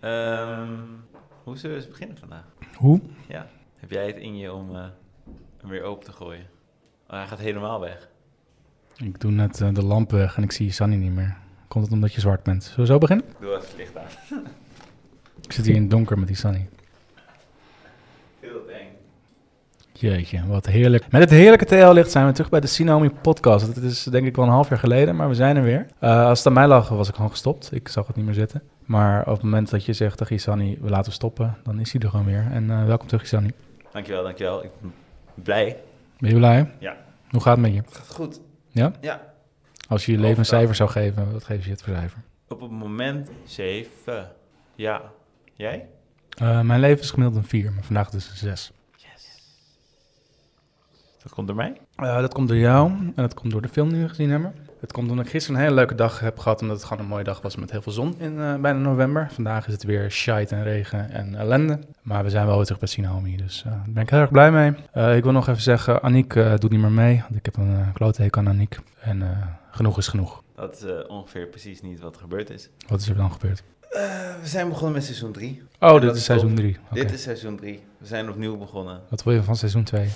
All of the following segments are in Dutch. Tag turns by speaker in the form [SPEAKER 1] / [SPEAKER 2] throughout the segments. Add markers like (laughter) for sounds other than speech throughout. [SPEAKER 1] Ehm, hoe zullen we eens beginnen vandaag?
[SPEAKER 2] Hoe?
[SPEAKER 1] Ja. Heb jij het in je om eh, hem weer open te gooien? Oh, hij gaat helemaal weg.
[SPEAKER 2] Ik doe net eh, de lamp weg en ik zie Sunny niet meer. Komt het omdat je zwart bent? Zullen we zo beginnen?
[SPEAKER 1] Ik doe even het licht aan.
[SPEAKER 2] Ik zit hier in het donker met die Sunny.
[SPEAKER 1] Heel eng.
[SPEAKER 2] Jeetje, wat heerlijk. Met het heerlijke TL-licht zijn we terug bij de Sinomi podcast. Het is denk ik wel een half jaar geleden, maar we zijn er weer. Eh, als het aan mij lag, was ik gewoon gestopt. Ik zag het niet meer zitten. Maar op het moment dat je zegt tegen Isani, we laten stoppen, dan is hij er gewoon weer. En eh, welkom terug, Isani.
[SPEAKER 1] Dankjewel, dankjewel. Ik ben blij.
[SPEAKER 2] Ben je blij?
[SPEAKER 1] Ja.
[SPEAKER 2] Hoe gaat het met je?
[SPEAKER 1] Het gaat goed.
[SPEAKER 2] Ja?
[SPEAKER 1] Ja.
[SPEAKER 2] Als je je leven een
[SPEAKER 1] Overdag.
[SPEAKER 2] cijfer zou geven, wat geef je het voor cijfer?
[SPEAKER 1] Op het moment zeven. Ja. Jij?
[SPEAKER 2] Eh, mijn leven is gemiddeld een 4, maar vandaag dus een 6.
[SPEAKER 1] Yes. Dat komt door mij?
[SPEAKER 2] Eh, dat komt door jou en dat komt door de film die we gezien hebben. Het komt omdat ik gisteren een hele leuke dag heb gehad, omdat het gewoon een mooie dag was met heel veel zon in eh, bijna november. Vandaag is het weer shite en regen en ellende. Maar we zijn wel weer terug bij Sinahomi, dus eh, daar ben ik heel erg blij mee. Eh, ik wil nog even zeggen, Aniek eh, doet niet meer mee, want ik heb een uh, klote hekel aan Aniek. En eh, genoeg is genoeg.
[SPEAKER 1] Dat is eh, ongeveer precies niet wat er gebeurd is.
[SPEAKER 2] Wat is er dan gebeurd?
[SPEAKER 1] Eh, we zijn begonnen met seizoen 3.
[SPEAKER 2] Oh,
[SPEAKER 1] dat
[SPEAKER 2] dit
[SPEAKER 1] is
[SPEAKER 2] is seizoen 3.
[SPEAKER 1] Dit is seizoen 3. We zijn opnieuw begonnen.
[SPEAKER 2] Wat wil je van seizoen 2?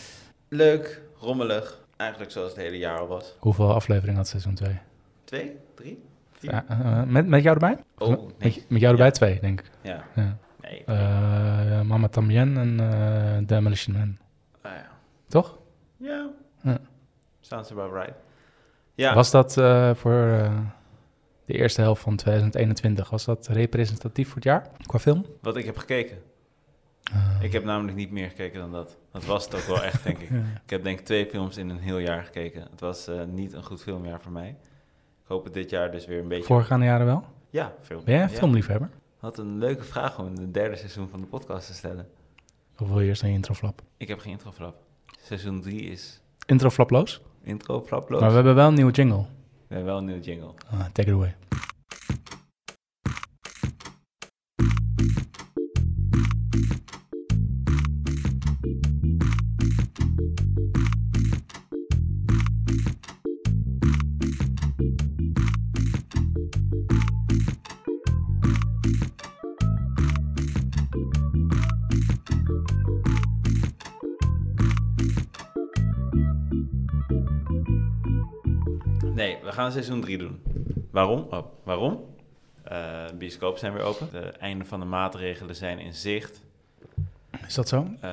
[SPEAKER 1] Leuk, rommelig. Eigenlijk zoals het hele jaar al was.
[SPEAKER 2] Hoeveel afleveringen had seizoen 2?
[SPEAKER 1] Twee? Drie? Vier?
[SPEAKER 2] met, met jou erbij?
[SPEAKER 1] Oh, nee.
[SPEAKER 2] Met, met jou erbij twee, denk ik.
[SPEAKER 1] Ja,
[SPEAKER 2] Ja.
[SPEAKER 1] nee.
[SPEAKER 2] Eh, Mama Tambien en eh, Demolition Man.
[SPEAKER 1] Ah, ja.
[SPEAKER 2] Toch?
[SPEAKER 1] ja.
[SPEAKER 2] Ja.
[SPEAKER 1] Sounds about right. Ja,
[SPEAKER 2] Was dat eh, voor eh, de eerste helft van 2021, was dat representatief voor het jaar qua film?
[SPEAKER 1] wat ik heb gekeken.
[SPEAKER 2] Eh,
[SPEAKER 1] Ik heb namelijk niet meer gekeken dan dat. Dat was het ook wel echt,
[SPEAKER 2] (laughs)
[SPEAKER 1] denk ik. Ik heb denk ik twee films in een heel jaar gekeken. Het was eh, niet een goed filmjaar voor mij. Ik hoop het dit jaar dus weer een beetje...
[SPEAKER 2] Voorgaande jaren wel.
[SPEAKER 1] Ja, film.
[SPEAKER 2] Ben jij een
[SPEAKER 1] Ja.
[SPEAKER 2] filmliefhebber?
[SPEAKER 1] Wat een leuke vraag om in het derde seizoen van de podcast te stellen.
[SPEAKER 2] Of wil je eerst een introflap?
[SPEAKER 1] Ik heb geen introflap. Seizoen 3 is
[SPEAKER 2] Introflaploos?
[SPEAKER 1] introflaploos.
[SPEAKER 2] Maar we hebben wel een nieuwe jingle.
[SPEAKER 1] We hebben wel een nieuwe jingle.
[SPEAKER 2] Ah, take it away.
[SPEAKER 1] Nee, we gaan seizoen 3 doen. Waarom? Oh, waarom? Eh bioscoop zijn weer open. De einde van de maatregelen zijn in zicht.
[SPEAKER 2] Is dat zo?
[SPEAKER 1] Eh,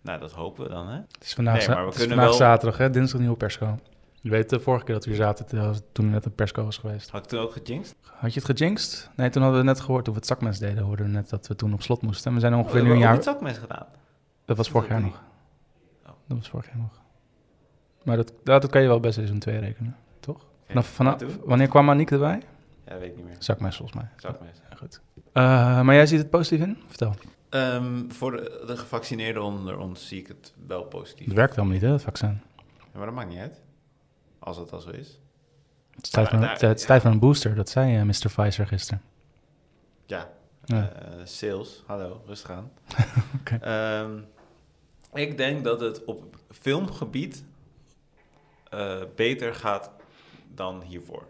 [SPEAKER 1] nou, dat hopen we dan, hè?
[SPEAKER 2] Het is vandaag,
[SPEAKER 1] Nee,
[SPEAKER 2] za-
[SPEAKER 1] maar we
[SPEAKER 2] het is
[SPEAKER 1] kunnen
[SPEAKER 2] vandaag
[SPEAKER 1] wel-
[SPEAKER 2] zaterdag, hè? dinsdag nieuwe persco. Je weet de vorige keer dat we hier zaten, toen was- toen er net een persco was geweest.
[SPEAKER 1] Had ik toen ook gejinxed?
[SPEAKER 2] Had je het gejinxed? Nee, toen hadden we net gehoord, toen we het zakmes deden, hoorden we net dat we toen op slot moesten. En we zijn
[SPEAKER 1] Oh,
[SPEAKER 2] ongeveer
[SPEAKER 1] dat
[SPEAKER 2] nu een
[SPEAKER 1] hebben we
[SPEAKER 2] jaar...
[SPEAKER 1] ook met zakmes gedaan.
[SPEAKER 2] Dat was vorig jaar
[SPEAKER 1] Dat
[SPEAKER 2] nog.
[SPEAKER 1] Oh.
[SPEAKER 2] Dat was vorig jaar nog. Maar dat, dat, dat kan je wel bij seizoen 2 rekenen, toch? Vanaf, vanaf-
[SPEAKER 1] wat doen
[SPEAKER 2] wanneer kwam Aniek erbij?
[SPEAKER 1] Ja, weet ik niet meer.
[SPEAKER 2] Zakmes volgens mij.
[SPEAKER 1] Zakmes.
[SPEAKER 2] Ja, goed. Eh, maar jij ziet het positief in? Vertel.
[SPEAKER 1] Ehm, voor de, de gevaccineerden onder ons zie ik het wel positief.
[SPEAKER 2] Het werkt helemaal niet, hè, dat vaccin.
[SPEAKER 1] Ja, maar dat maakt niet uit. Als het al zo is.
[SPEAKER 2] Het is tijd
[SPEAKER 1] Ja,
[SPEAKER 2] voor,
[SPEAKER 1] daar-
[SPEAKER 2] het, het is tijd voor een booster, dat zei eh, Mr. Pfizer gisteren.
[SPEAKER 1] Ja.
[SPEAKER 2] Ja.
[SPEAKER 1] Eh, sales, hallo, rustig aan.
[SPEAKER 2] (laughs) Oké.
[SPEAKER 1] Ehm, ik denk dat het op filmgebied eh, beter gaat dan hiervoor.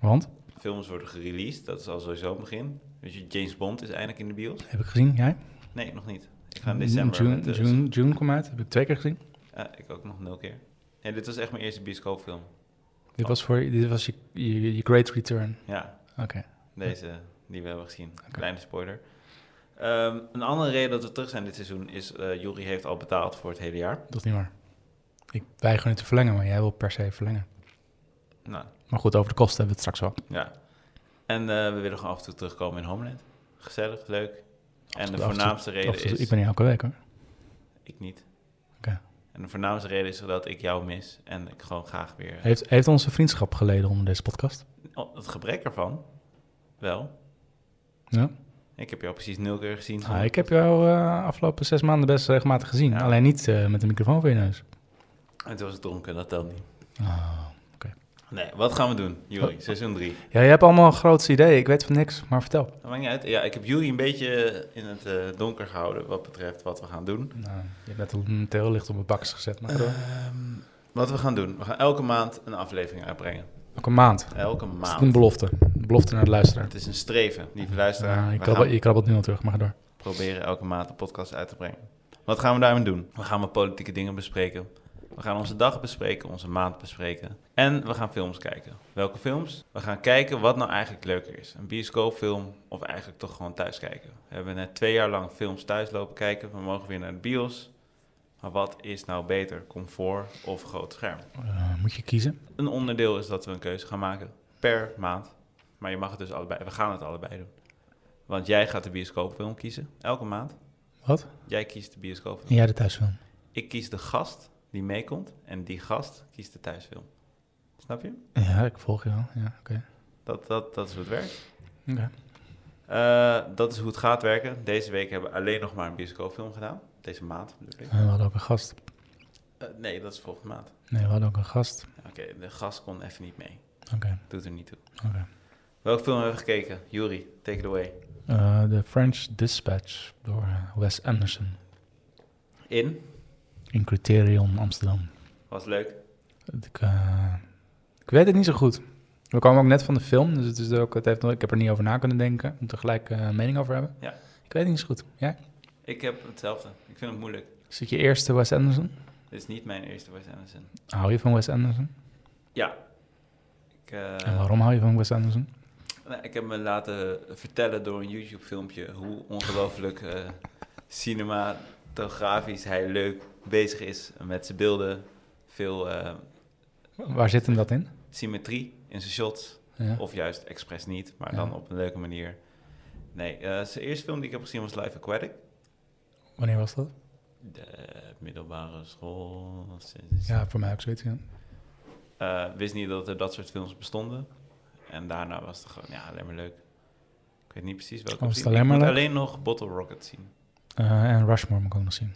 [SPEAKER 2] Want,
[SPEAKER 1] Films worden gereleased, dat is al sowieso een begin. Dus je, James Bond is eindelijk in de bios.
[SPEAKER 2] heb ik gezien, jij?
[SPEAKER 1] Nee, nog niet. Ik ga in december.
[SPEAKER 2] Mm, June,
[SPEAKER 1] met de-
[SPEAKER 2] June, June komt uit, heb ik twee keer gezien.
[SPEAKER 1] Ah, ik ook nog nul keer. Nee, dit was echt mijn eerste bioscoopfilm.
[SPEAKER 2] Dit was, voor, dit was je, je, je great return.
[SPEAKER 1] Ja,
[SPEAKER 2] Oké.
[SPEAKER 1] deze die we hebben gezien.
[SPEAKER 2] Oké.
[SPEAKER 1] Kleine spoiler. Ehm, een andere reden dat we terug zijn dit seizoen is... eh Jury heeft al betaald voor het hele jaar.
[SPEAKER 2] Dat is niet waar. Ik weiger het te verlengen, maar jij wil per se verlengen.
[SPEAKER 1] Nou,
[SPEAKER 2] Maar goed, over de kosten hebben we het straks wel.
[SPEAKER 1] Ja. En eh, we willen gewoon af en toe terugkomen in Homeland. Gezellig, leuk. En de
[SPEAKER 2] toe, af en toe,
[SPEAKER 1] voornaamste reden
[SPEAKER 2] Of-
[SPEAKER 1] is...
[SPEAKER 2] Ik ben hier elke week hoor.
[SPEAKER 1] Ik niet.
[SPEAKER 2] Oké.
[SPEAKER 1] En de voornaamste reden is dat ik jou mis en ik gewoon graag weer...
[SPEAKER 2] Heeft, heeft onze vriendschap geleden onder deze podcast?
[SPEAKER 1] Oh, het gebrek ervan, wel.
[SPEAKER 2] Ja.
[SPEAKER 1] Ik heb jou precies nul keer gezien.
[SPEAKER 2] Ah, ik heb jou eh afgelopen zes maanden best regelmatig gezien.
[SPEAKER 1] Ja.
[SPEAKER 2] Alleen niet eh, met een microfoon voor je neus.
[SPEAKER 1] En toen was het dronken, dat telt niet.
[SPEAKER 2] Ah. Oh.
[SPEAKER 1] Nee, wat gaan we doen, Juri? Seizoen 3.
[SPEAKER 2] Ja, je hebt allemaal grootste ideeën. Ik weet van niks, maar vertel.
[SPEAKER 1] Dat maakt niet uit. Ja, ik heb Juri een beetje in het eh, donker gehouden wat betreft wat we gaan doen.
[SPEAKER 2] Nou, je hebt net een Eh. teellicht op mijn bakjes gezet. Maar
[SPEAKER 1] Ehm, wat we gaan doen, we gaan elke maand een aflevering uitbrengen.
[SPEAKER 2] Elke maand.
[SPEAKER 1] Elke
[SPEAKER 2] Dat is
[SPEAKER 1] maand.
[SPEAKER 2] een belofte. Een belofte naar de luisteraar.
[SPEAKER 1] Het is een streven, lieve luisteraar.
[SPEAKER 2] Ja, je,
[SPEAKER 1] Dus, eh, We
[SPEAKER 2] krabbelt,
[SPEAKER 1] gaan-
[SPEAKER 2] je krabbelt nu al terug, maar ga door.
[SPEAKER 1] proberen elke maand een podcast uit te brengen. Wat gaan we daarmee doen? We gaan wat politieke dingen bespreken. We gaan onze dag bespreken, onze maand bespreken. En we gaan films kijken. Welke films? We gaan kijken wat nou eigenlijk leuker is. Een bioscoopfilm of eigenlijk toch gewoon thuis kijken. We hebben net twee jaar lang films thuis lopen kijken. We mogen weer naar de bios. Maar wat is nou beter? Comfort of groot scherm?
[SPEAKER 2] Eh, moet je kiezen?
[SPEAKER 1] Een onderdeel is dat we een keuze gaan maken per maand. Maar je mag het dus allebei. We gaan het allebei doen. Want jij gaat de bioscoopfilm kiezen, elke maand.
[SPEAKER 2] Wat?
[SPEAKER 1] Jij kiest de bioscoopfilm.
[SPEAKER 2] Ja, de thuisfilm.
[SPEAKER 1] Ik kies de gast die meekomt en die gast kiest de thuisfilm. Snap je?
[SPEAKER 2] Ja, ik volg je wel. Ja, oké.
[SPEAKER 1] Dat, dat, dat is hoe het werkt.
[SPEAKER 2] Oké.
[SPEAKER 1] Eh, dat is hoe het gaat werken. Deze week hebben we alleen nog maar een bioscoopfilm gedaan. Deze maand bedoel ik.
[SPEAKER 2] Eh, we hadden ook een gast.
[SPEAKER 1] Eh, nee, dat is volgende maand.
[SPEAKER 2] Nee, we hadden ook een gast.
[SPEAKER 1] Oké, de gast kon even niet mee.
[SPEAKER 2] Oké,
[SPEAKER 1] Doet er niet toe.
[SPEAKER 2] oké.
[SPEAKER 1] Welke film hebben we gekeken? Yuri, take it away.
[SPEAKER 2] Eh, The French Dispatch door eh, Wes Anderson
[SPEAKER 1] In.
[SPEAKER 2] in Criterion Amsterdam.
[SPEAKER 1] Was leuk.
[SPEAKER 2] Ik, eh, ik weet het niet zo goed. We kwamen ook net van de film, dus het is er ook, het heeft, nog- ik heb er niet over na kunnen denken. Ik moet er gelijk eh, een mening over hebben.
[SPEAKER 1] Ja.
[SPEAKER 2] Ik weet het niet zo goed. Ja?
[SPEAKER 1] Ik heb hetzelfde. Ik vind het moeilijk.
[SPEAKER 2] Is het je eerste Wes Anderson?
[SPEAKER 1] Dit is niet mijn eerste Wes Anderson.
[SPEAKER 2] Hou je van Wes Anderson?
[SPEAKER 1] Ja. Ik, eh,
[SPEAKER 2] en waarom hou je van Wes Anderson?
[SPEAKER 1] Nou, ik heb me laten vertellen door een YouTube-filmpje hoe ongelooflijk eh, cinematografisch hij leuk bezig is met zijn beelden. Veel eh,
[SPEAKER 2] Waar zit hem dat in?
[SPEAKER 1] symmetrie in zijn shots,
[SPEAKER 2] Ja.
[SPEAKER 1] of juist expres niet, maar
[SPEAKER 2] Ja.
[SPEAKER 1] dan op een leuke manier. Nee, eh, zijn eerste film die ik heb gezien was Life Aquatic.
[SPEAKER 2] Wanneer was dat?
[SPEAKER 1] De middelbare school.
[SPEAKER 2] Ja, voor mij ook zoiets. Ja.
[SPEAKER 1] Eh, wist niet dat er dat soort films bestonden. En daarna was het gewoon ja, alleen maar leuk. Ik weet niet precies welke.
[SPEAKER 2] Was
[SPEAKER 1] ik zie.
[SPEAKER 2] het
[SPEAKER 1] Ik
[SPEAKER 2] alleen maar
[SPEAKER 1] moet
[SPEAKER 2] leuk?
[SPEAKER 1] alleen nog Bottle Rocket zien.
[SPEAKER 2] Eh, en Rushmore moet ik ook nog zien.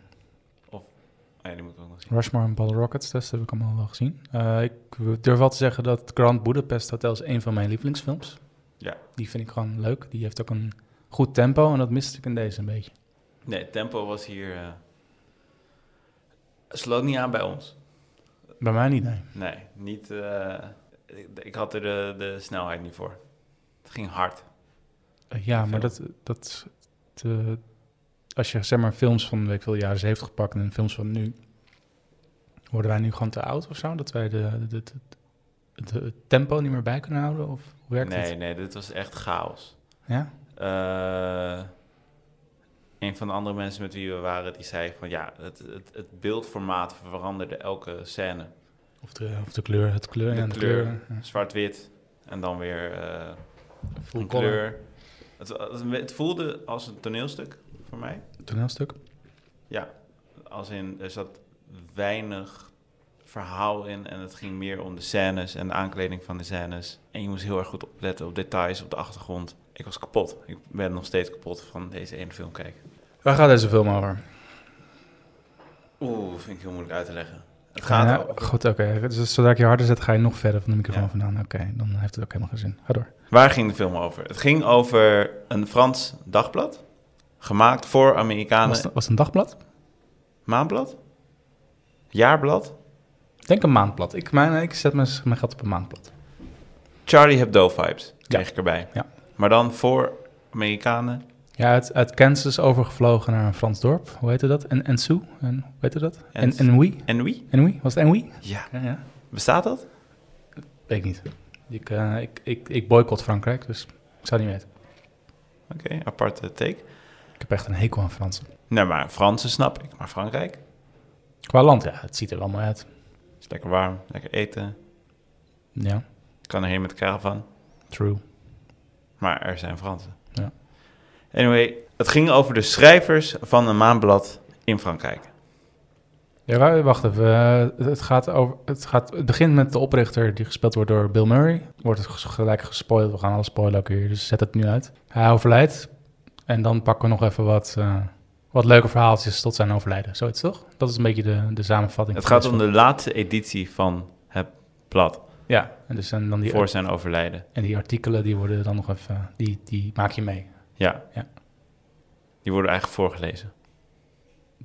[SPEAKER 1] Ah ja, die moet ik ook nog zien.
[SPEAKER 2] Rushmore en Bottle Rockets, dat heb ik allemaal wel gezien. Eh, ik durf wel te zeggen dat Grand Budapest Hotel is een van mijn lievelingsfilms.
[SPEAKER 1] Ja.
[SPEAKER 2] Die vind ik gewoon leuk. Die heeft ook een goed tempo en dat miste ik in deze een beetje.
[SPEAKER 1] Nee, het tempo was hier. eh sloot niet aan bij ons.
[SPEAKER 2] Bij mij niet, nee.
[SPEAKER 1] Nee, niet. eh, ik, ik had er de, de snelheid niet voor. Het ging hard.
[SPEAKER 2] Eh, ja, maar dat... dat te- als je zeg maar films van, weet ik veel, jaren 70 gepakt en films van nu... Worden wij nu gewoon te oud of zo? Dat wij de, de, de- de- het tempo niet meer bij kunnen houden? Of hoe werkt
[SPEAKER 1] nee,
[SPEAKER 2] het?
[SPEAKER 1] nee, dit was echt chaos.
[SPEAKER 2] Ja?
[SPEAKER 1] Eh, een van de andere mensen met wie we waren, die zei van ja, het, het, het beeldformaat veranderde elke scène.
[SPEAKER 2] Of de, of de kleur, het kleur.
[SPEAKER 1] De
[SPEAKER 2] ja, de
[SPEAKER 1] kleur.
[SPEAKER 2] kleur. ja.
[SPEAKER 1] Zwart-wit en dan weer eh
[SPEAKER 2] Full
[SPEAKER 1] een
[SPEAKER 2] color.
[SPEAKER 1] kleur. Het, het- het voelde als een toneelstuk voor mij.
[SPEAKER 2] Toneelstuk.
[SPEAKER 1] Als in, er zat weinig verhaal in en het ging meer om de scènes en de aankleding van de scènes. En je moest heel erg goed opletten op details, op de achtergrond. Ik was kapot. Ik ben nog steeds kapot van deze ene film kijken.
[SPEAKER 2] Waar gaat deze film over?
[SPEAKER 1] Oeh, vind ik heel moeilijk uit te leggen. Het gaat
[SPEAKER 2] Ja,
[SPEAKER 1] over-
[SPEAKER 2] Goed, oké. Dus zodra ik je harder zet, ga je nog verder van de microfoon
[SPEAKER 1] Ja.
[SPEAKER 2] vandaan. Oké, dan heeft het ook helemaal geen zin. Ga door.
[SPEAKER 1] Waar ging de film over? Het ging over een Frans dagblad, gemaakt voor Amerikanen.
[SPEAKER 2] was, het, was het een dagblad?
[SPEAKER 1] Maandblad? Jaarblad?
[SPEAKER 2] Ik Denk een maandblad. Ik, mijn, ik zet mijn, mijn geld op een maandblad.
[SPEAKER 1] Charlie Hebdo vibes, kreeg
[SPEAKER 2] Ja.
[SPEAKER 1] ik erbij.
[SPEAKER 2] Ja.
[SPEAKER 1] Maar dan voor Amerikanen.
[SPEAKER 2] Ja, uit, uit Kansas overgevlogen naar een Frans dorp. Hoe heette dat? En Ensu? En, hoe heette dat? En
[SPEAKER 1] Ens-
[SPEAKER 2] Enui?
[SPEAKER 1] En wie?
[SPEAKER 2] Enui? Was het Enui?
[SPEAKER 1] Ja.
[SPEAKER 2] Ja, ja.
[SPEAKER 1] Bestaat dat?
[SPEAKER 2] Weet ik niet. Ik, eh, ik, ik, ik boycott Frankrijk, dus ik zou niet weten.
[SPEAKER 1] Oké, aparte take.
[SPEAKER 2] Ik heb echt een hekel aan Fransen.
[SPEAKER 1] Nee, maar Fransen snap ik. Maar Frankrijk?
[SPEAKER 2] Qua land, ja, het ziet er wel mooi uit.
[SPEAKER 1] Is lekker warm, lekker eten.
[SPEAKER 2] Ja,
[SPEAKER 1] Kan er heen met de caravan.
[SPEAKER 2] true.
[SPEAKER 1] Maar er zijn Fransen.
[SPEAKER 2] Ja.
[SPEAKER 1] Anyway, het ging over de schrijvers van een maandblad in Frankrijk.
[SPEAKER 2] Ja, wa- wacht even. Eh, het- het, gaat over, het, gaat, het begint met de oprichter die gespeeld wordt door Bill Murray. Wordt het ges- gelijk gespoild. We gaan alles spoilen ook hier, dus zet het nu uit. Hij overlijdt. En dan pakken we nog even wat, eh, wat leuke verhaaltjes tot zijn overlijden. Zoiets toch? Dat is een beetje de, de samenvatting.
[SPEAKER 1] Het
[SPEAKER 2] van
[SPEAKER 1] gaat
[SPEAKER 2] deze
[SPEAKER 1] om de
[SPEAKER 2] film.
[SPEAKER 1] laatste editie van het blad.
[SPEAKER 2] Ja, en, dus, en, dan die,
[SPEAKER 1] Voor zijn overlijden.
[SPEAKER 2] en die artikelen die worden dan nog even... Die, die maak je mee.
[SPEAKER 1] Ja.
[SPEAKER 2] Ja.
[SPEAKER 1] Die worden eigenlijk voorgelezen.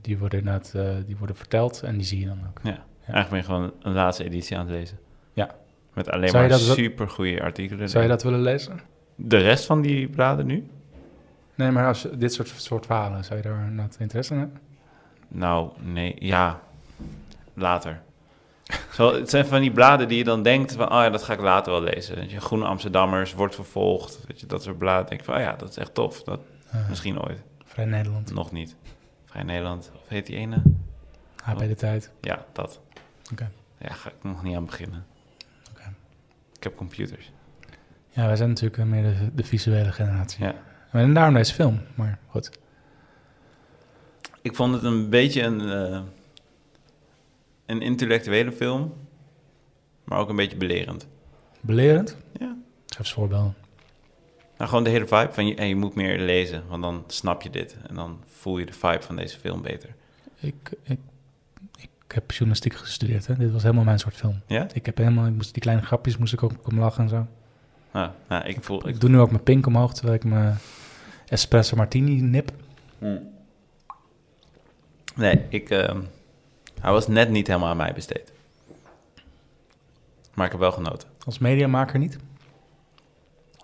[SPEAKER 2] Die worden, inderdaad, eh, die worden verteld en die zie je dan ook.
[SPEAKER 1] Eigenlijk ben je gewoon een laatste editie aan het lezen.
[SPEAKER 2] Ja.
[SPEAKER 1] Met alleen
[SPEAKER 2] Zou je
[SPEAKER 1] maar
[SPEAKER 2] dat wel-
[SPEAKER 1] super goede artikelen.
[SPEAKER 2] Zou
[SPEAKER 1] erin.
[SPEAKER 2] je dat willen lezen?
[SPEAKER 1] De rest van die bladen nu?
[SPEAKER 2] Nee, maar als je- dit soort, soort verhalen, zou je daar inderdaad interesse in hebben?
[SPEAKER 1] Nou, nee, ja.
[SPEAKER 2] (laughs)
[SPEAKER 1] Later. Zo, het zijn van die bladen die je dan denkt van, oh ja, dat ga ik later wel lezen. Weet Je, Groene Amsterdammers, wordt vervolgd, weet je, dat soort bladen. Denk ik van, oh ja, dat is echt tof. Dat,
[SPEAKER 2] Eh,
[SPEAKER 1] misschien ooit.
[SPEAKER 2] Vrij Nederland,
[SPEAKER 1] Nog niet. Vrij Nederland, of heet die ene?
[SPEAKER 2] HP Ah, de Tijd.
[SPEAKER 1] Ja, dat.
[SPEAKER 2] Oké.
[SPEAKER 1] Ja, ga ik nog niet aan beginnen.
[SPEAKER 2] Oké.
[SPEAKER 1] Ik heb computers.
[SPEAKER 2] Ja, wij zijn natuurlijk eh, meer de, de visuele generatie.
[SPEAKER 1] Ja.
[SPEAKER 2] En daarom deze film, maar goed.
[SPEAKER 1] Ik vond het een beetje een, eh, een intellectuele film, maar ook een beetje belerend.
[SPEAKER 2] Belerend?
[SPEAKER 1] Ja.
[SPEAKER 2] Geef eens voorbeeld.
[SPEAKER 1] Nou, gewoon de hele vibe van je, en je moet meer lezen, want dan snap je dit en dan voel je de vibe van deze film beter.
[SPEAKER 2] Ik, ik, ik heb journalistiek gestudeerd, hè. Dit was helemaal mijn soort film.
[SPEAKER 1] Ja?
[SPEAKER 2] Ik heb helemaal, ik moest die kleine grapjes moest ik ook om lachen en zo.
[SPEAKER 1] Nou, nou ik voel. Ik,
[SPEAKER 2] Ik doe nu ook mijn pink omhoog, terwijl ik mijn espresso martini nip.
[SPEAKER 1] nee, ik. ehm, hij was net niet helemaal aan mij besteed. Maar ik heb wel genoten.
[SPEAKER 2] Als mediamaker niet.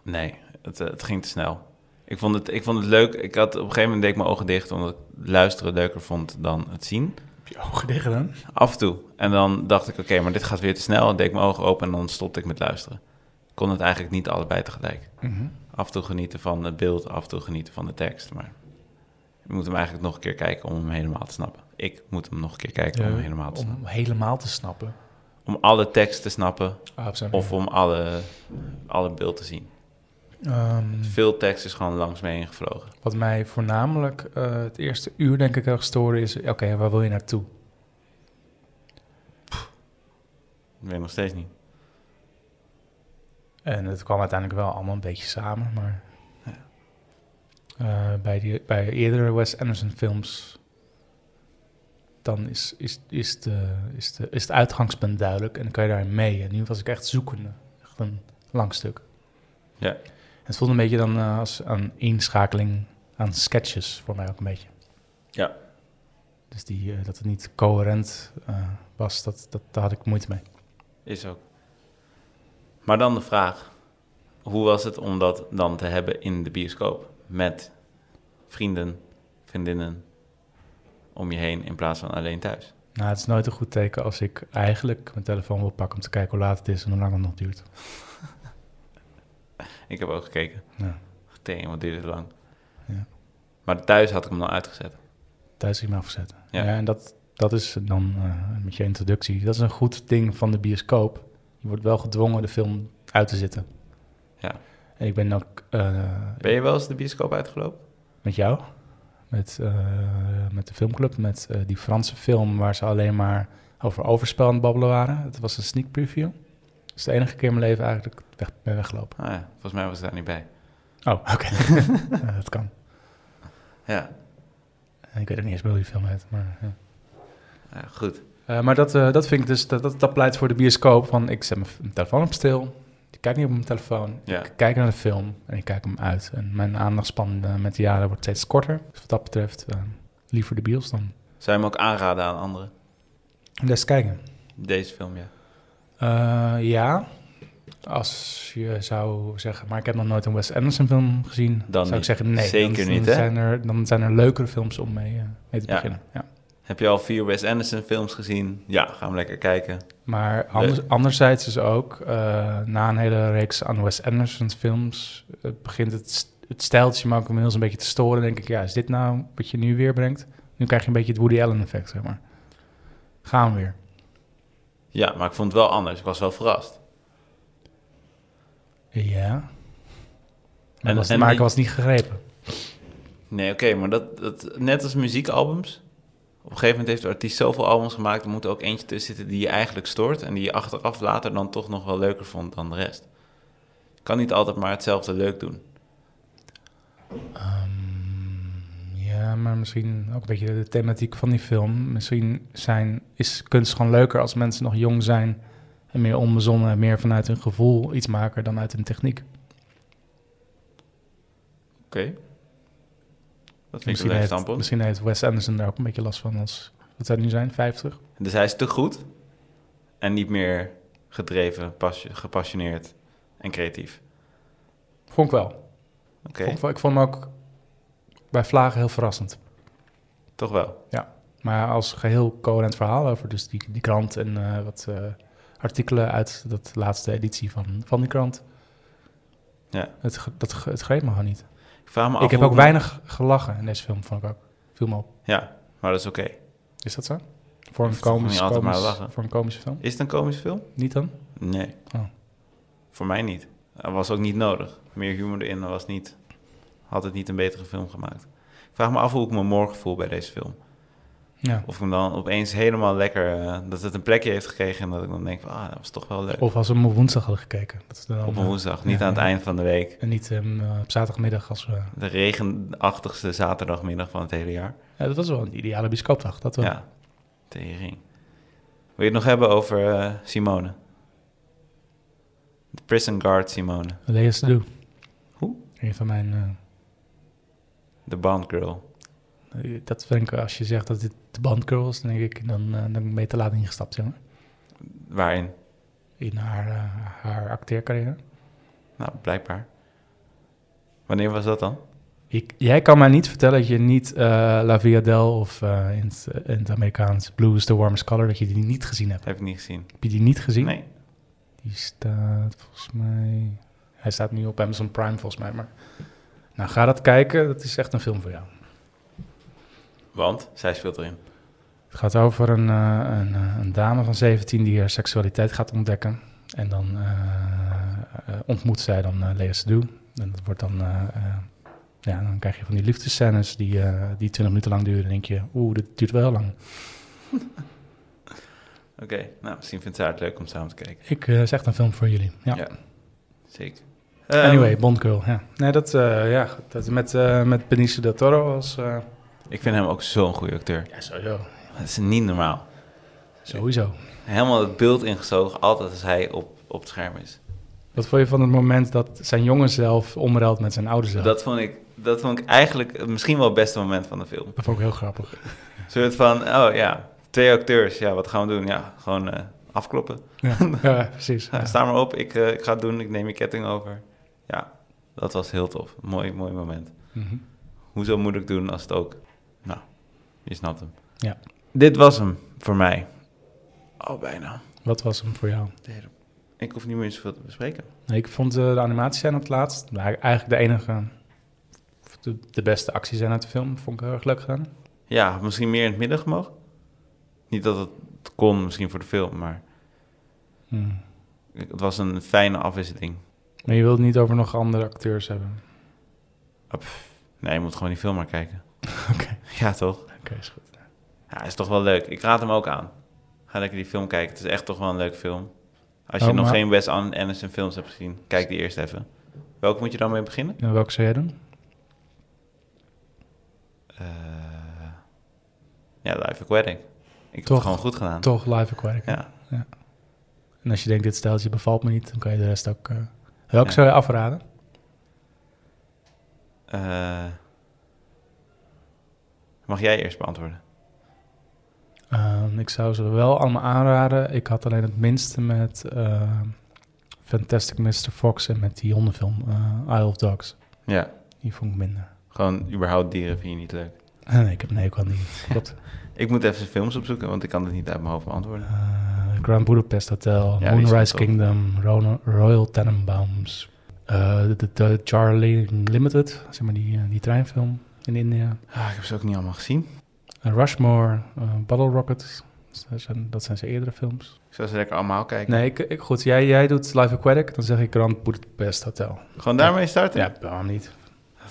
[SPEAKER 1] Nee, het, eh, het ging te snel. Ik vond, het, ik vond het leuk. Ik had, op een gegeven moment deed ik mijn ogen dicht, omdat ik luisteren leuker vond dan het zien.
[SPEAKER 2] Heb je ogen dicht gedaan?
[SPEAKER 1] Af en toe. En dan dacht ik, oké, maar dit gaat weer te snel. En deed ik mijn ogen open en dan stopte ik met luisteren. Ik kon het eigenlijk niet allebei tegelijk.
[SPEAKER 2] Mhm.
[SPEAKER 1] Af en toe genieten van het beeld, af en toe genieten van de tekst. Maar je moet hem eigenlijk nog een keer kijken om hem helemaal te snappen. Ik moet hem nog een keer kijken om hem helemaal te snappen.
[SPEAKER 2] Eh, Om helemaal te snappen.
[SPEAKER 1] Om alle tekst te snappen
[SPEAKER 2] Ah, op zijn
[SPEAKER 1] of om alle, alle beeld te zien.
[SPEAKER 2] Ehm,
[SPEAKER 1] Veel tekst is gewoon langs me heen gevlogen.
[SPEAKER 2] wat mij voornamelijk eh, het eerste uur denk ik erg stoorde is... Oké, waar wil je naartoe?
[SPEAKER 1] Dat weet ik nog steeds niet.
[SPEAKER 2] En het kwam uiteindelijk wel allemaal een beetje samen, maar... eh, bij, die, bij eerdere Wes Anderson films... dan is, is, is, de, is, de, is het uitgangspunt duidelijk en dan kan je daarin mee. En nu was ik echt zoekende. Echt een lang stuk.
[SPEAKER 1] Ja.
[SPEAKER 2] Het voelde een beetje dan eh, als een inschakeling aan sketches voor mij ook een beetje.
[SPEAKER 1] Ja.
[SPEAKER 2] Dus die, eh, dat het niet coherent eh, was, dat, dat, daar had ik moeite mee.
[SPEAKER 1] Is ook. Maar dan de vraag: hoe was het om dat dan te hebben in de bioscoop? Met vrienden, vriendinnen om je heen in plaats van alleen thuis.
[SPEAKER 2] Nou, het is nooit een goed teken als ik eigenlijk mijn telefoon wil pakken om te kijken hoe laat het is en hoe lang het nog duurt.
[SPEAKER 1] Ik heb ook gekeken.
[SPEAKER 2] Ja.
[SPEAKER 1] Tegen, wat duurde het lang.
[SPEAKER 2] Ja.
[SPEAKER 1] Maar thuis had ik hem dan uitgezet.
[SPEAKER 2] Thuis is me afzetten.
[SPEAKER 1] Ja.
[SPEAKER 2] Ja. en dat, dat is dan eh, met je introductie. Dat is een goed ding van de bioscoop. Je wordt wel gedwongen de film uit te zitten.
[SPEAKER 1] Ja.
[SPEAKER 2] En ik ben ook eh,
[SPEAKER 1] Ben je wel eens de bioscoop uitgelopen?
[SPEAKER 2] met jou, met, eh, met de filmclub, met eh, die Franse film waar ze alleen maar over overspel aan het babbelen waren. Het was een sneak preview. Dat is de enige keer in mijn leven eigenlijk dat ik weg, ben weggelopen.
[SPEAKER 1] Ah ja, volgens mij was ik daar niet bij.
[SPEAKER 2] Oh, oké. (laughs) Ja, dat kan.
[SPEAKER 1] Ja,
[SPEAKER 2] Eh, Ik weet ook niet eens meer hoe die film heet. Maar, ja.
[SPEAKER 1] ja, goed.
[SPEAKER 2] Eh, maar dat, eh, dat vind ik dus, dat, dat, dat pleit voor de bioscoop. Van ik zet mijn f- mijn telefoon op stil. Ik kijk niet op mijn telefoon.
[SPEAKER 1] Ja.
[SPEAKER 2] Ik kijk naar de film en ik kijk hem uit. En mijn aandachtspan eh, met de jaren wordt steeds korter. Dus wat dat betreft, eh, liever de bios dan.
[SPEAKER 1] Zou je hem ook aanraden aan anderen?
[SPEAKER 2] Les kijken.
[SPEAKER 1] Deze film, ja.
[SPEAKER 2] Eh, ja, als je zou zeggen, maar ik heb nog nooit een Wes Anderson film gezien,
[SPEAKER 1] Dan
[SPEAKER 2] zou ik
[SPEAKER 1] niet.
[SPEAKER 2] zeggen nee.
[SPEAKER 1] Zeker
[SPEAKER 2] dan,
[SPEAKER 1] niet,
[SPEAKER 2] dan
[SPEAKER 1] hè?
[SPEAKER 2] Zijn er, dan zijn er leukere films om mee, eh, mee te
[SPEAKER 1] Ja.
[SPEAKER 2] beginnen. Ja.
[SPEAKER 1] Heb je al vier Wes Anderson films gezien? Ja, ga hem lekker kijken.
[SPEAKER 2] Maar anders, anderzijds is ook, eh, na een hele reeks aan Wes Anderson films, eh, begint het, st- het stijltje me ook inmiddels een beetje te storen. Dan denk ik, ja, is dit nou wat je nu weer brengt? Nu krijg je een beetje het Woody Allen effect, zeg maar. Gaan we weer.
[SPEAKER 1] Ja, maar ik vond het wel anders. Ik was wel verrast.
[SPEAKER 2] Ja. Maar,
[SPEAKER 1] En-
[SPEAKER 2] en, was,
[SPEAKER 1] en
[SPEAKER 2] maar ik
[SPEAKER 1] die-
[SPEAKER 2] was niet gegrepen.
[SPEAKER 1] Nee, oké, maar dat, dat, net als muziekalbums. Op een gegeven moment heeft de artiest zoveel albums gemaakt. Er moet ook eentje tussen zitten die je eigenlijk stoort. En die je achteraf later dan toch nog wel leuker vond dan de rest. Je kan niet altijd maar hetzelfde leuk doen.
[SPEAKER 2] Ehm, ja, maar misschien ook een beetje de thematiek van die film. Misschien zijn, is kunst gewoon leuker als mensen nog jong zijn en meer onbezonnen, en meer vanuit hun gevoel iets maken dan uit hun techniek.
[SPEAKER 1] Oké. Dat vind ik een
[SPEAKER 2] Misschien
[SPEAKER 1] leuk
[SPEAKER 2] heeft,
[SPEAKER 1] standpunt.
[SPEAKER 2] misschien heeft Wes Anderson daar ook een beetje last van als wat zou het nu zijn, 50.
[SPEAKER 1] Dus hij is te goed. En niet meer gedreven, pas, gepassioneerd en creatief?
[SPEAKER 2] Vond ik wel.
[SPEAKER 1] Oké,
[SPEAKER 2] Vond ik, wel- ik vond hem ook bij Vlagen heel verrassend.
[SPEAKER 1] toch wel.
[SPEAKER 2] Maar als geheel coherent verhaal over dus die, die krant en eh, wat eh, artikelen uit dat laatste editie van, van die krant.
[SPEAKER 1] Ja.
[SPEAKER 2] Het, ge- dat, ge- het greep me gewoon niet.
[SPEAKER 1] Ik, vraag me af
[SPEAKER 2] ik heb
[SPEAKER 1] hoe-
[SPEAKER 2] ook weinig gelachen in deze film, vond ik ook. Viel me op.
[SPEAKER 1] Ja, maar dat is oké.
[SPEAKER 2] Is dat zo? Voor een,
[SPEAKER 1] hoeft toch
[SPEAKER 2] komisch,
[SPEAKER 1] niet altijd maar
[SPEAKER 2] komisch-
[SPEAKER 1] lachen.
[SPEAKER 2] voor een komische film?
[SPEAKER 1] Is het een komische film?
[SPEAKER 2] Niet dan?
[SPEAKER 1] Nee.
[SPEAKER 2] Oh.
[SPEAKER 1] Voor mij niet. Dat was ook niet nodig. Meer humor erin was niet. Had het niet een betere film gemaakt. Ik vraag me af hoe ik me morgen voel bij deze film.
[SPEAKER 2] Ja.
[SPEAKER 1] Of ik hem dan opeens helemaal lekker. eh, dat het een plekje heeft gekregen. En dat ik dan denk: van, ah, dat was toch wel leuk.
[SPEAKER 2] Of als we hem op woensdag hadden gekeken. Dat is dan,
[SPEAKER 1] Op
[SPEAKER 2] eh,
[SPEAKER 1] een woensdag, niet
[SPEAKER 2] ja,
[SPEAKER 1] aan het
[SPEAKER 2] ja.
[SPEAKER 1] eind van de week.
[SPEAKER 2] En niet ehm, eh, op zaterdagmiddag als we...
[SPEAKER 1] De regenachtigste zaterdagmiddag van het hele jaar.
[SPEAKER 2] Ja, dat was wel een ideale bioscoopdag, dat wel.
[SPEAKER 1] Ja, tering. Wil je het nog hebben over eh, Simone? De prison guard Simone.
[SPEAKER 2] Lea Seydoux.
[SPEAKER 1] Hoe?
[SPEAKER 2] Een van mijn...
[SPEAKER 1] De bond girl.
[SPEAKER 2] eh, dat vind ik, als je zegt dat dit de bandgirl is, dan denk ik, dan, eh, dan ben ik mee te laat ingestapt, zeg maar.
[SPEAKER 1] Waarin?
[SPEAKER 2] In haar, eh, haar acteercarrière.
[SPEAKER 1] Nou, blijkbaar. Wanneer was dat dan?
[SPEAKER 2] Ik, jij kan mij niet vertellen dat je niet eh, La Via Del of eh, in, het, in het Amerikaans Blue is the Warmest Color, dat je die niet gezien hebt.
[SPEAKER 1] Heb ik niet gezien.
[SPEAKER 2] Heb je die niet gezien?
[SPEAKER 1] Nee.
[SPEAKER 2] Die staat volgens mij. Hij staat nu op Amazon Prime volgens mij. Maar... Nou, ga dat kijken. Dat is echt een film voor jou.
[SPEAKER 1] Want? Zij speelt erin.
[SPEAKER 2] Het gaat over een, eh, een, eh, een dame van 17 die haar seksualiteit gaat ontdekken. En dan eh, eh, ontmoet zij dan eh Lea Seydoux. En dat wordt dan... eh, eh, ja, dan krijg je van die liefdescènes die, eh, die 20 minuten lang duren. En denk je, oeh, dit duurt wel heel lang.
[SPEAKER 1] Oké, nou, misschien vindt zij het leuk om samen te kijken.
[SPEAKER 2] Ik eh, is echt een film voor jullie. Ja.
[SPEAKER 1] Ja. Zeker.
[SPEAKER 2] Anyway,
[SPEAKER 1] Ehm,
[SPEAKER 2] Bond Girl. Ja. Nee, dat, eh, ja, dat met, eh, met Benicio del Toro als... eh,
[SPEAKER 1] Ik vind hem ook zo'n goede acteur.
[SPEAKER 2] ja, sowieso.
[SPEAKER 1] Dat is niet normaal.
[SPEAKER 2] Sowieso.
[SPEAKER 1] Helemaal het beeld ingezogen, altijd als hij op, op het scherm is.
[SPEAKER 2] Wat vond je van het moment dat zijn jongen zelf omruilt met zijn oude zelf? Dat,
[SPEAKER 1] Dat vond ik, dat vond ik eigenlijk misschien wel het beste moment van de film.
[SPEAKER 2] vond ik heel (laughs) grappig.
[SPEAKER 1] Een soort van, oh ja, twee acteurs, ja, wat gaan we doen? Ja, gewoon eh, afkloppen.
[SPEAKER 2] Ja, precies.
[SPEAKER 1] Ja, Sta maar op, ik, eh, ik ga het doen, ik neem je ketting over. Ja, dat was heel tof. Mooi, mooi moment.
[SPEAKER 2] Mhm.
[SPEAKER 1] Hoezo moet ik doen als het ook... Nou, je snapt hem.
[SPEAKER 2] Ja.
[SPEAKER 1] Dit was hem voor mij. Oh, bijna.
[SPEAKER 2] Wat was hem voor jou?
[SPEAKER 1] Ik hoef niet meer zoveel te bespreken.
[SPEAKER 2] Nee, ik vond eh, de animatiescène op het laatst nou, eigenlijk de enige, of de, de beste actiescène uit de film. Vond ik heel erg leuk gedaan.
[SPEAKER 1] Ja, misschien meer in het midden gemogen. Niet dat het kon, misschien voor de film, maar
[SPEAKER 2] Hmm.
[SPEAKER 1] het was een fijne afwisseling.
[SPEAKER 2] Maar je wilt het niet over nog andere acteurs hebben.
[SPEAKER 1] Nee, je moet gewoon die film maar kijken.
[SPEAKER 2] (laughs) Oké,
[SPEAKER 1] Ja, toch?
[SPEAKER 2] oké, is goed.
[SPEAKER 1] Ja, is toch wel leuk. Ik raad hem ook aan. Ga lekker die film kijken. Het is echt toch wel een leuk film. Als je
[SPEAKER 2] Oh,
[SPEAKER 1] nog
[SPEAKER 2] maar-
[SPEAKER 1] geen Wes An- Anderson films hebt gezien, kijk die eerst even. Welke moet je dan mee beginnen?
[SPEAKER 2] En welke zou jij doen?
[SPEAKER 1] Eh, ja, Life Aquatic. Ik heb
[SPEAKER 2] Toch.
[SPEAKER 1] het gewoon goed gedaan.
[SPEAKER 2] Toch Live Aquatic.
[SPEAKER 1] Ja.
[SPEAKER 2] En als je denkt, dit steltje bevalt me niet, dan kan je de rest ook... eh, welke
[SPEAKER 1] Ja.
[SPEAKER 2] zou je afraden?
[SPEAKER 1] Eh, mag jij eerst beantwoorden?
[SPEAKER 2] Ehm, ik zou ze wel allemaal aanraden. Ik had alleen het minste met ehm, Fantastic Mr. Fox en met die hondenfilm eh, Isle of Dogs.
[SPEAKER 1] Ja,
[SPEAKER 2] Die vond ik minder.
[SPEAKER 1] gewoon überhaupt dieren vind je niet leuk.
[SPEAKER 2] (laughs) nee, ik heb nee, ik kan niet. Klopt.
[SPEAKER 1] Ik moet even zijn films opzoeken, want ik kan het niet uit mijn hoofd beantwoorden.
[SPEAKER 2] Eh, Grand Budapest Hotel,
[SPEAKER 1] die
[SPEAKER 2] Moonrise
[SPEAKER 1] stond op.
[SPEAKER 2] Kingdom, Ron- Royal Tenenbaums, eh, de, de- de Charlie Limited, zeg maar die, eh, die treinfilm in India,
[SPEAKER 1] Ah, ik heb ze ook niet allemaal gezien.
[SPEAKER 2] Eh, Rushmore, eh, Bottle Rocket, dat zijn, dat zijn zijn eerdere films.
[SPEAKER 1] Ik zou ze lekker allemaal kijken.
[SPEAKER 2] Nee, ik, ik, goed, jij, jij doet Live Aquatic, dan zeg ik Grand Budapest Hotel.
[SPEAKER 1] Gewoon daarmee starten?
[SPEAKER 2] Ja, waarom niet?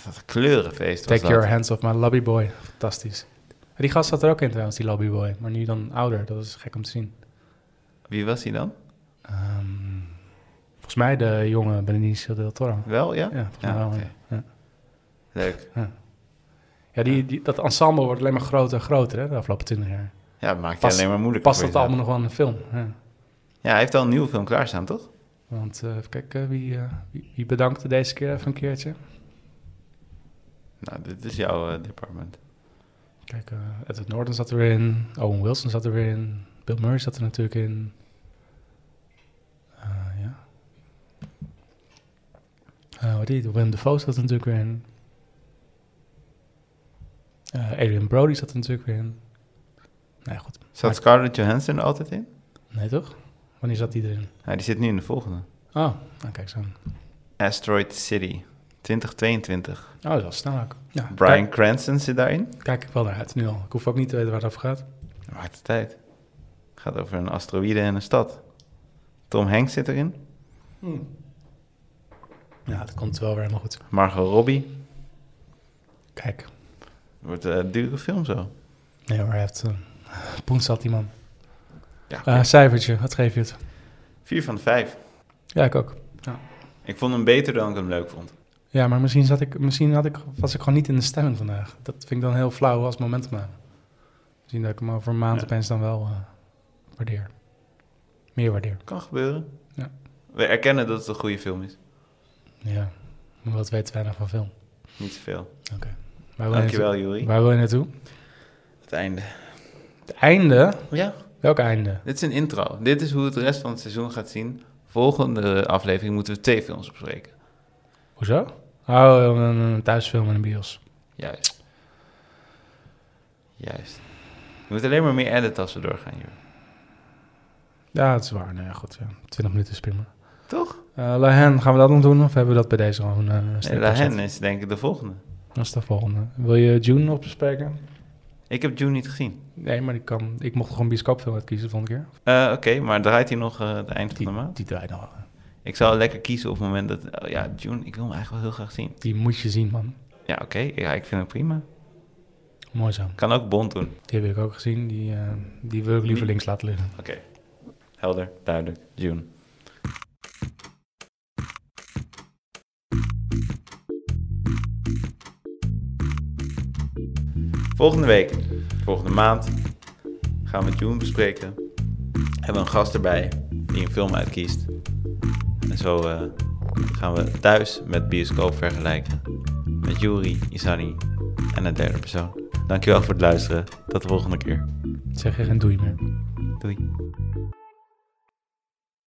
[SPEAKER 1] Wat een kleurenfeest was
[SPEAKER 2] Take
[SPEAKER 1] dat.
[SPEAKER 2] your hands off my lobby boy. Fantastisch. En die gast zat er ook in trouwens, die lobby boy. Maar nu dan ouder, dat is gek om te zien.
[SPEAKER 1] Wie was hij dan?
[SPEAKER 2] Ehm, volgens mij de jonge Benicio del Toro.
[SPEAKER 1] Wel, ja?
[SPEAKER 2] Ja, volgens
[SPEAKER 1] Ja,
[SPEAKER 2] mij wel.
[SPEAKER 1] oké.
[SPEAKER 2] Ja,
[SPEAKER 1] Leuk.
[SPEAKER 2] ja die, die, dat ensemble wordt alleen maar groter en groter hè, de afgelopen 20 jaar.
[SPEAKER 1] Ja, dat maakt je
[SPEAKER 2] Past-
[SPEAKER 1] alleen maar moeilijk.
[SPEAKER 2] Past dat allemaal nog wel in een film? Ja.
[SPEAKER 1] Ja, hij heeft al een nieuwe film klaarstaan, toch?
[SPEAKER 2] Want eh, even kijken, wie, eh, wie, wie bedankte deze keer even een keertje?
[SPEAKER 1] Nou, dit is jouw eh, department.
[SPEAKER 2] Kijk, eh, Edward Norton zat erin, Owen Wilson zat erin, Bill Murray zat er natuurlijk in. Eh wat die? Willem Dafoe zat er natuurlijk weer in. Eh, Adrian Brody zat er natuurlijk weer in. Nee, goed.
[SPEAKER 1] Zat Scarlett Johansson er altijd in?
[SPEAKER 2] Nee, toch? Wanneer zat die erin?
[SPEAKER 1] Ja, die zit nu in de volgende.
[SPEAKER 2] Oh, nou, kijk zo. Oh,
[SPEAKER 1] Asteroid City, 2022.
[SPEAKER 2] Oh, dat is wel snel ook. Ja,
[SPEAKER 1] Brian Cranston zit daarin.
[SPEAKER 2] Kijk, kijk ik wel naar uit nu al. Ik hoef ook niet te weten waar het over gaat.
[SPEAKER 1] Maakt de tijd. Gaat over een asteroïde en een stad. Tom Hanks zit erin.
[SPEAKER 2] Ja, dat komt wel weer helemaal goed.
[SPEAKER 1] Margot Robbie.
[SPEAKER 2] Kijk.
[SPEAKER 1] Wordt eh, een dure film zo.
[SPEAKER 2] Nee hoor, hij heeft... eh Poens zat die man.
[SPEAKER 1] Ja,
[SPEAKER 2] Eh, cijfertje, wat geef je het?
[SPEAKER 1] Vier van de vijf.
[SPEAKER 2] Ja, ik ook.
[SPEAKER 1] Ik vond hem beter dan ik hem leuk vond.
[SPEAKER 2] Ja, maar misschien, zat ik, misschien had ik, was ik gewoon niet in de stemming vandaag. Dat vind ik dan heel flauw als momentopname. Misschien dat ik hem over een maand
[SPEAKER 1] Ja.
[SPEAKER 2] opeens dan wel eh, waardeer. Meer waardeer.
[SPEAKER 1] Kan gebeuren.
[SPEAKER 2] Ja.
[SPEAKER 1] We erkennen dat het een goede film is.
[SPEAKER 2] Ja, maar wat weten wij nou van film?
[SPEAKER 1] Niet zoveel.
[SPEAKER 2] Waar wil je
[SPEAKER 1] Dankjewel,
[SPEAKER 2] naartoe?
[SPEAKER 1] Juri.
[SPEAKER 2] Waar wil je naartoe?
[SPEAKER 1] Het einde.
[SPEAKER 2] Het einde?
[SPEAKER 1] Ja.
[SPEAKER 2] Welk einde?
[SPEAKER 1] Dit is een intro. Dit is hoe het rest van het seizoen gaat zien. Volgende aflevering moeten we twee films bespreken.
[SPEAKER 2] Hoezo? Oh, een, een thuisfilm in de bios.
[SPEAKER 1] Juist. Juist. Je moet alleen maar meer editen als we doorgaan, joh.
[SPEAKER 2] Ja, dat is waar. Nou ja, goed. Ja. 20 minuten is prima.
[SPEAKER 1] Toch?
[SPEAKER 2] Eh Lahen, gaan we dat nog doen? Of hebben we dat bij deze gewoon... eh
[SPEAKER 1] Nee,
[SPEAKER 2] stippen gezet?
[SPEAKER 1] Lahen is denk ik de volgende.
[SPEAKER 2] Dat is de volgende. Wil je June nog bespreken?
[SPEAKER 1] Ik heb June niet gezien.
[SPEAKER 2] Nee, maar ik, kan, ik mocht gewoon bioscoopfilm uitkiezen de volgende keer.
[SPEAKER 1] Eh, Oké, maar draait hij nog eh, het eind van de maand?
[SPEAKER 2] Die draait nog.
[SPEAKER 1] Ik zou lekker kiezen op het moment dat... oh ja, June, ik wil hem eigenlijk wel heel graag zien.
[SPEAKER 2] Die moet je zien, man.
[SPEAKER 1] Ja, oké. Ja, ik vind hem prima.
[SPEAKER 2] Mooi zo.
[SPEAKER 1] Kan ook Bond doen.
[SPEAKER 2] Die heb ik ook gezien. Die, eh, die wil ik liever links laten liggen.
[SPEAKER 1] Oké. Helder, duidelijk. June. Volgende week, volgende maand, gaan we June bespreken. Hebben we een gast erbij die een film uitkiest. En zo eh, gaan we thuis met bioscoop vergelijken. Met Juri, Isani en een derde persoon. Dankjewel voor het luisteren. Tot de volgende keer.
[SPEAKER 2] Zeg je geen doei meer.
[SPEAKER 1] Doei.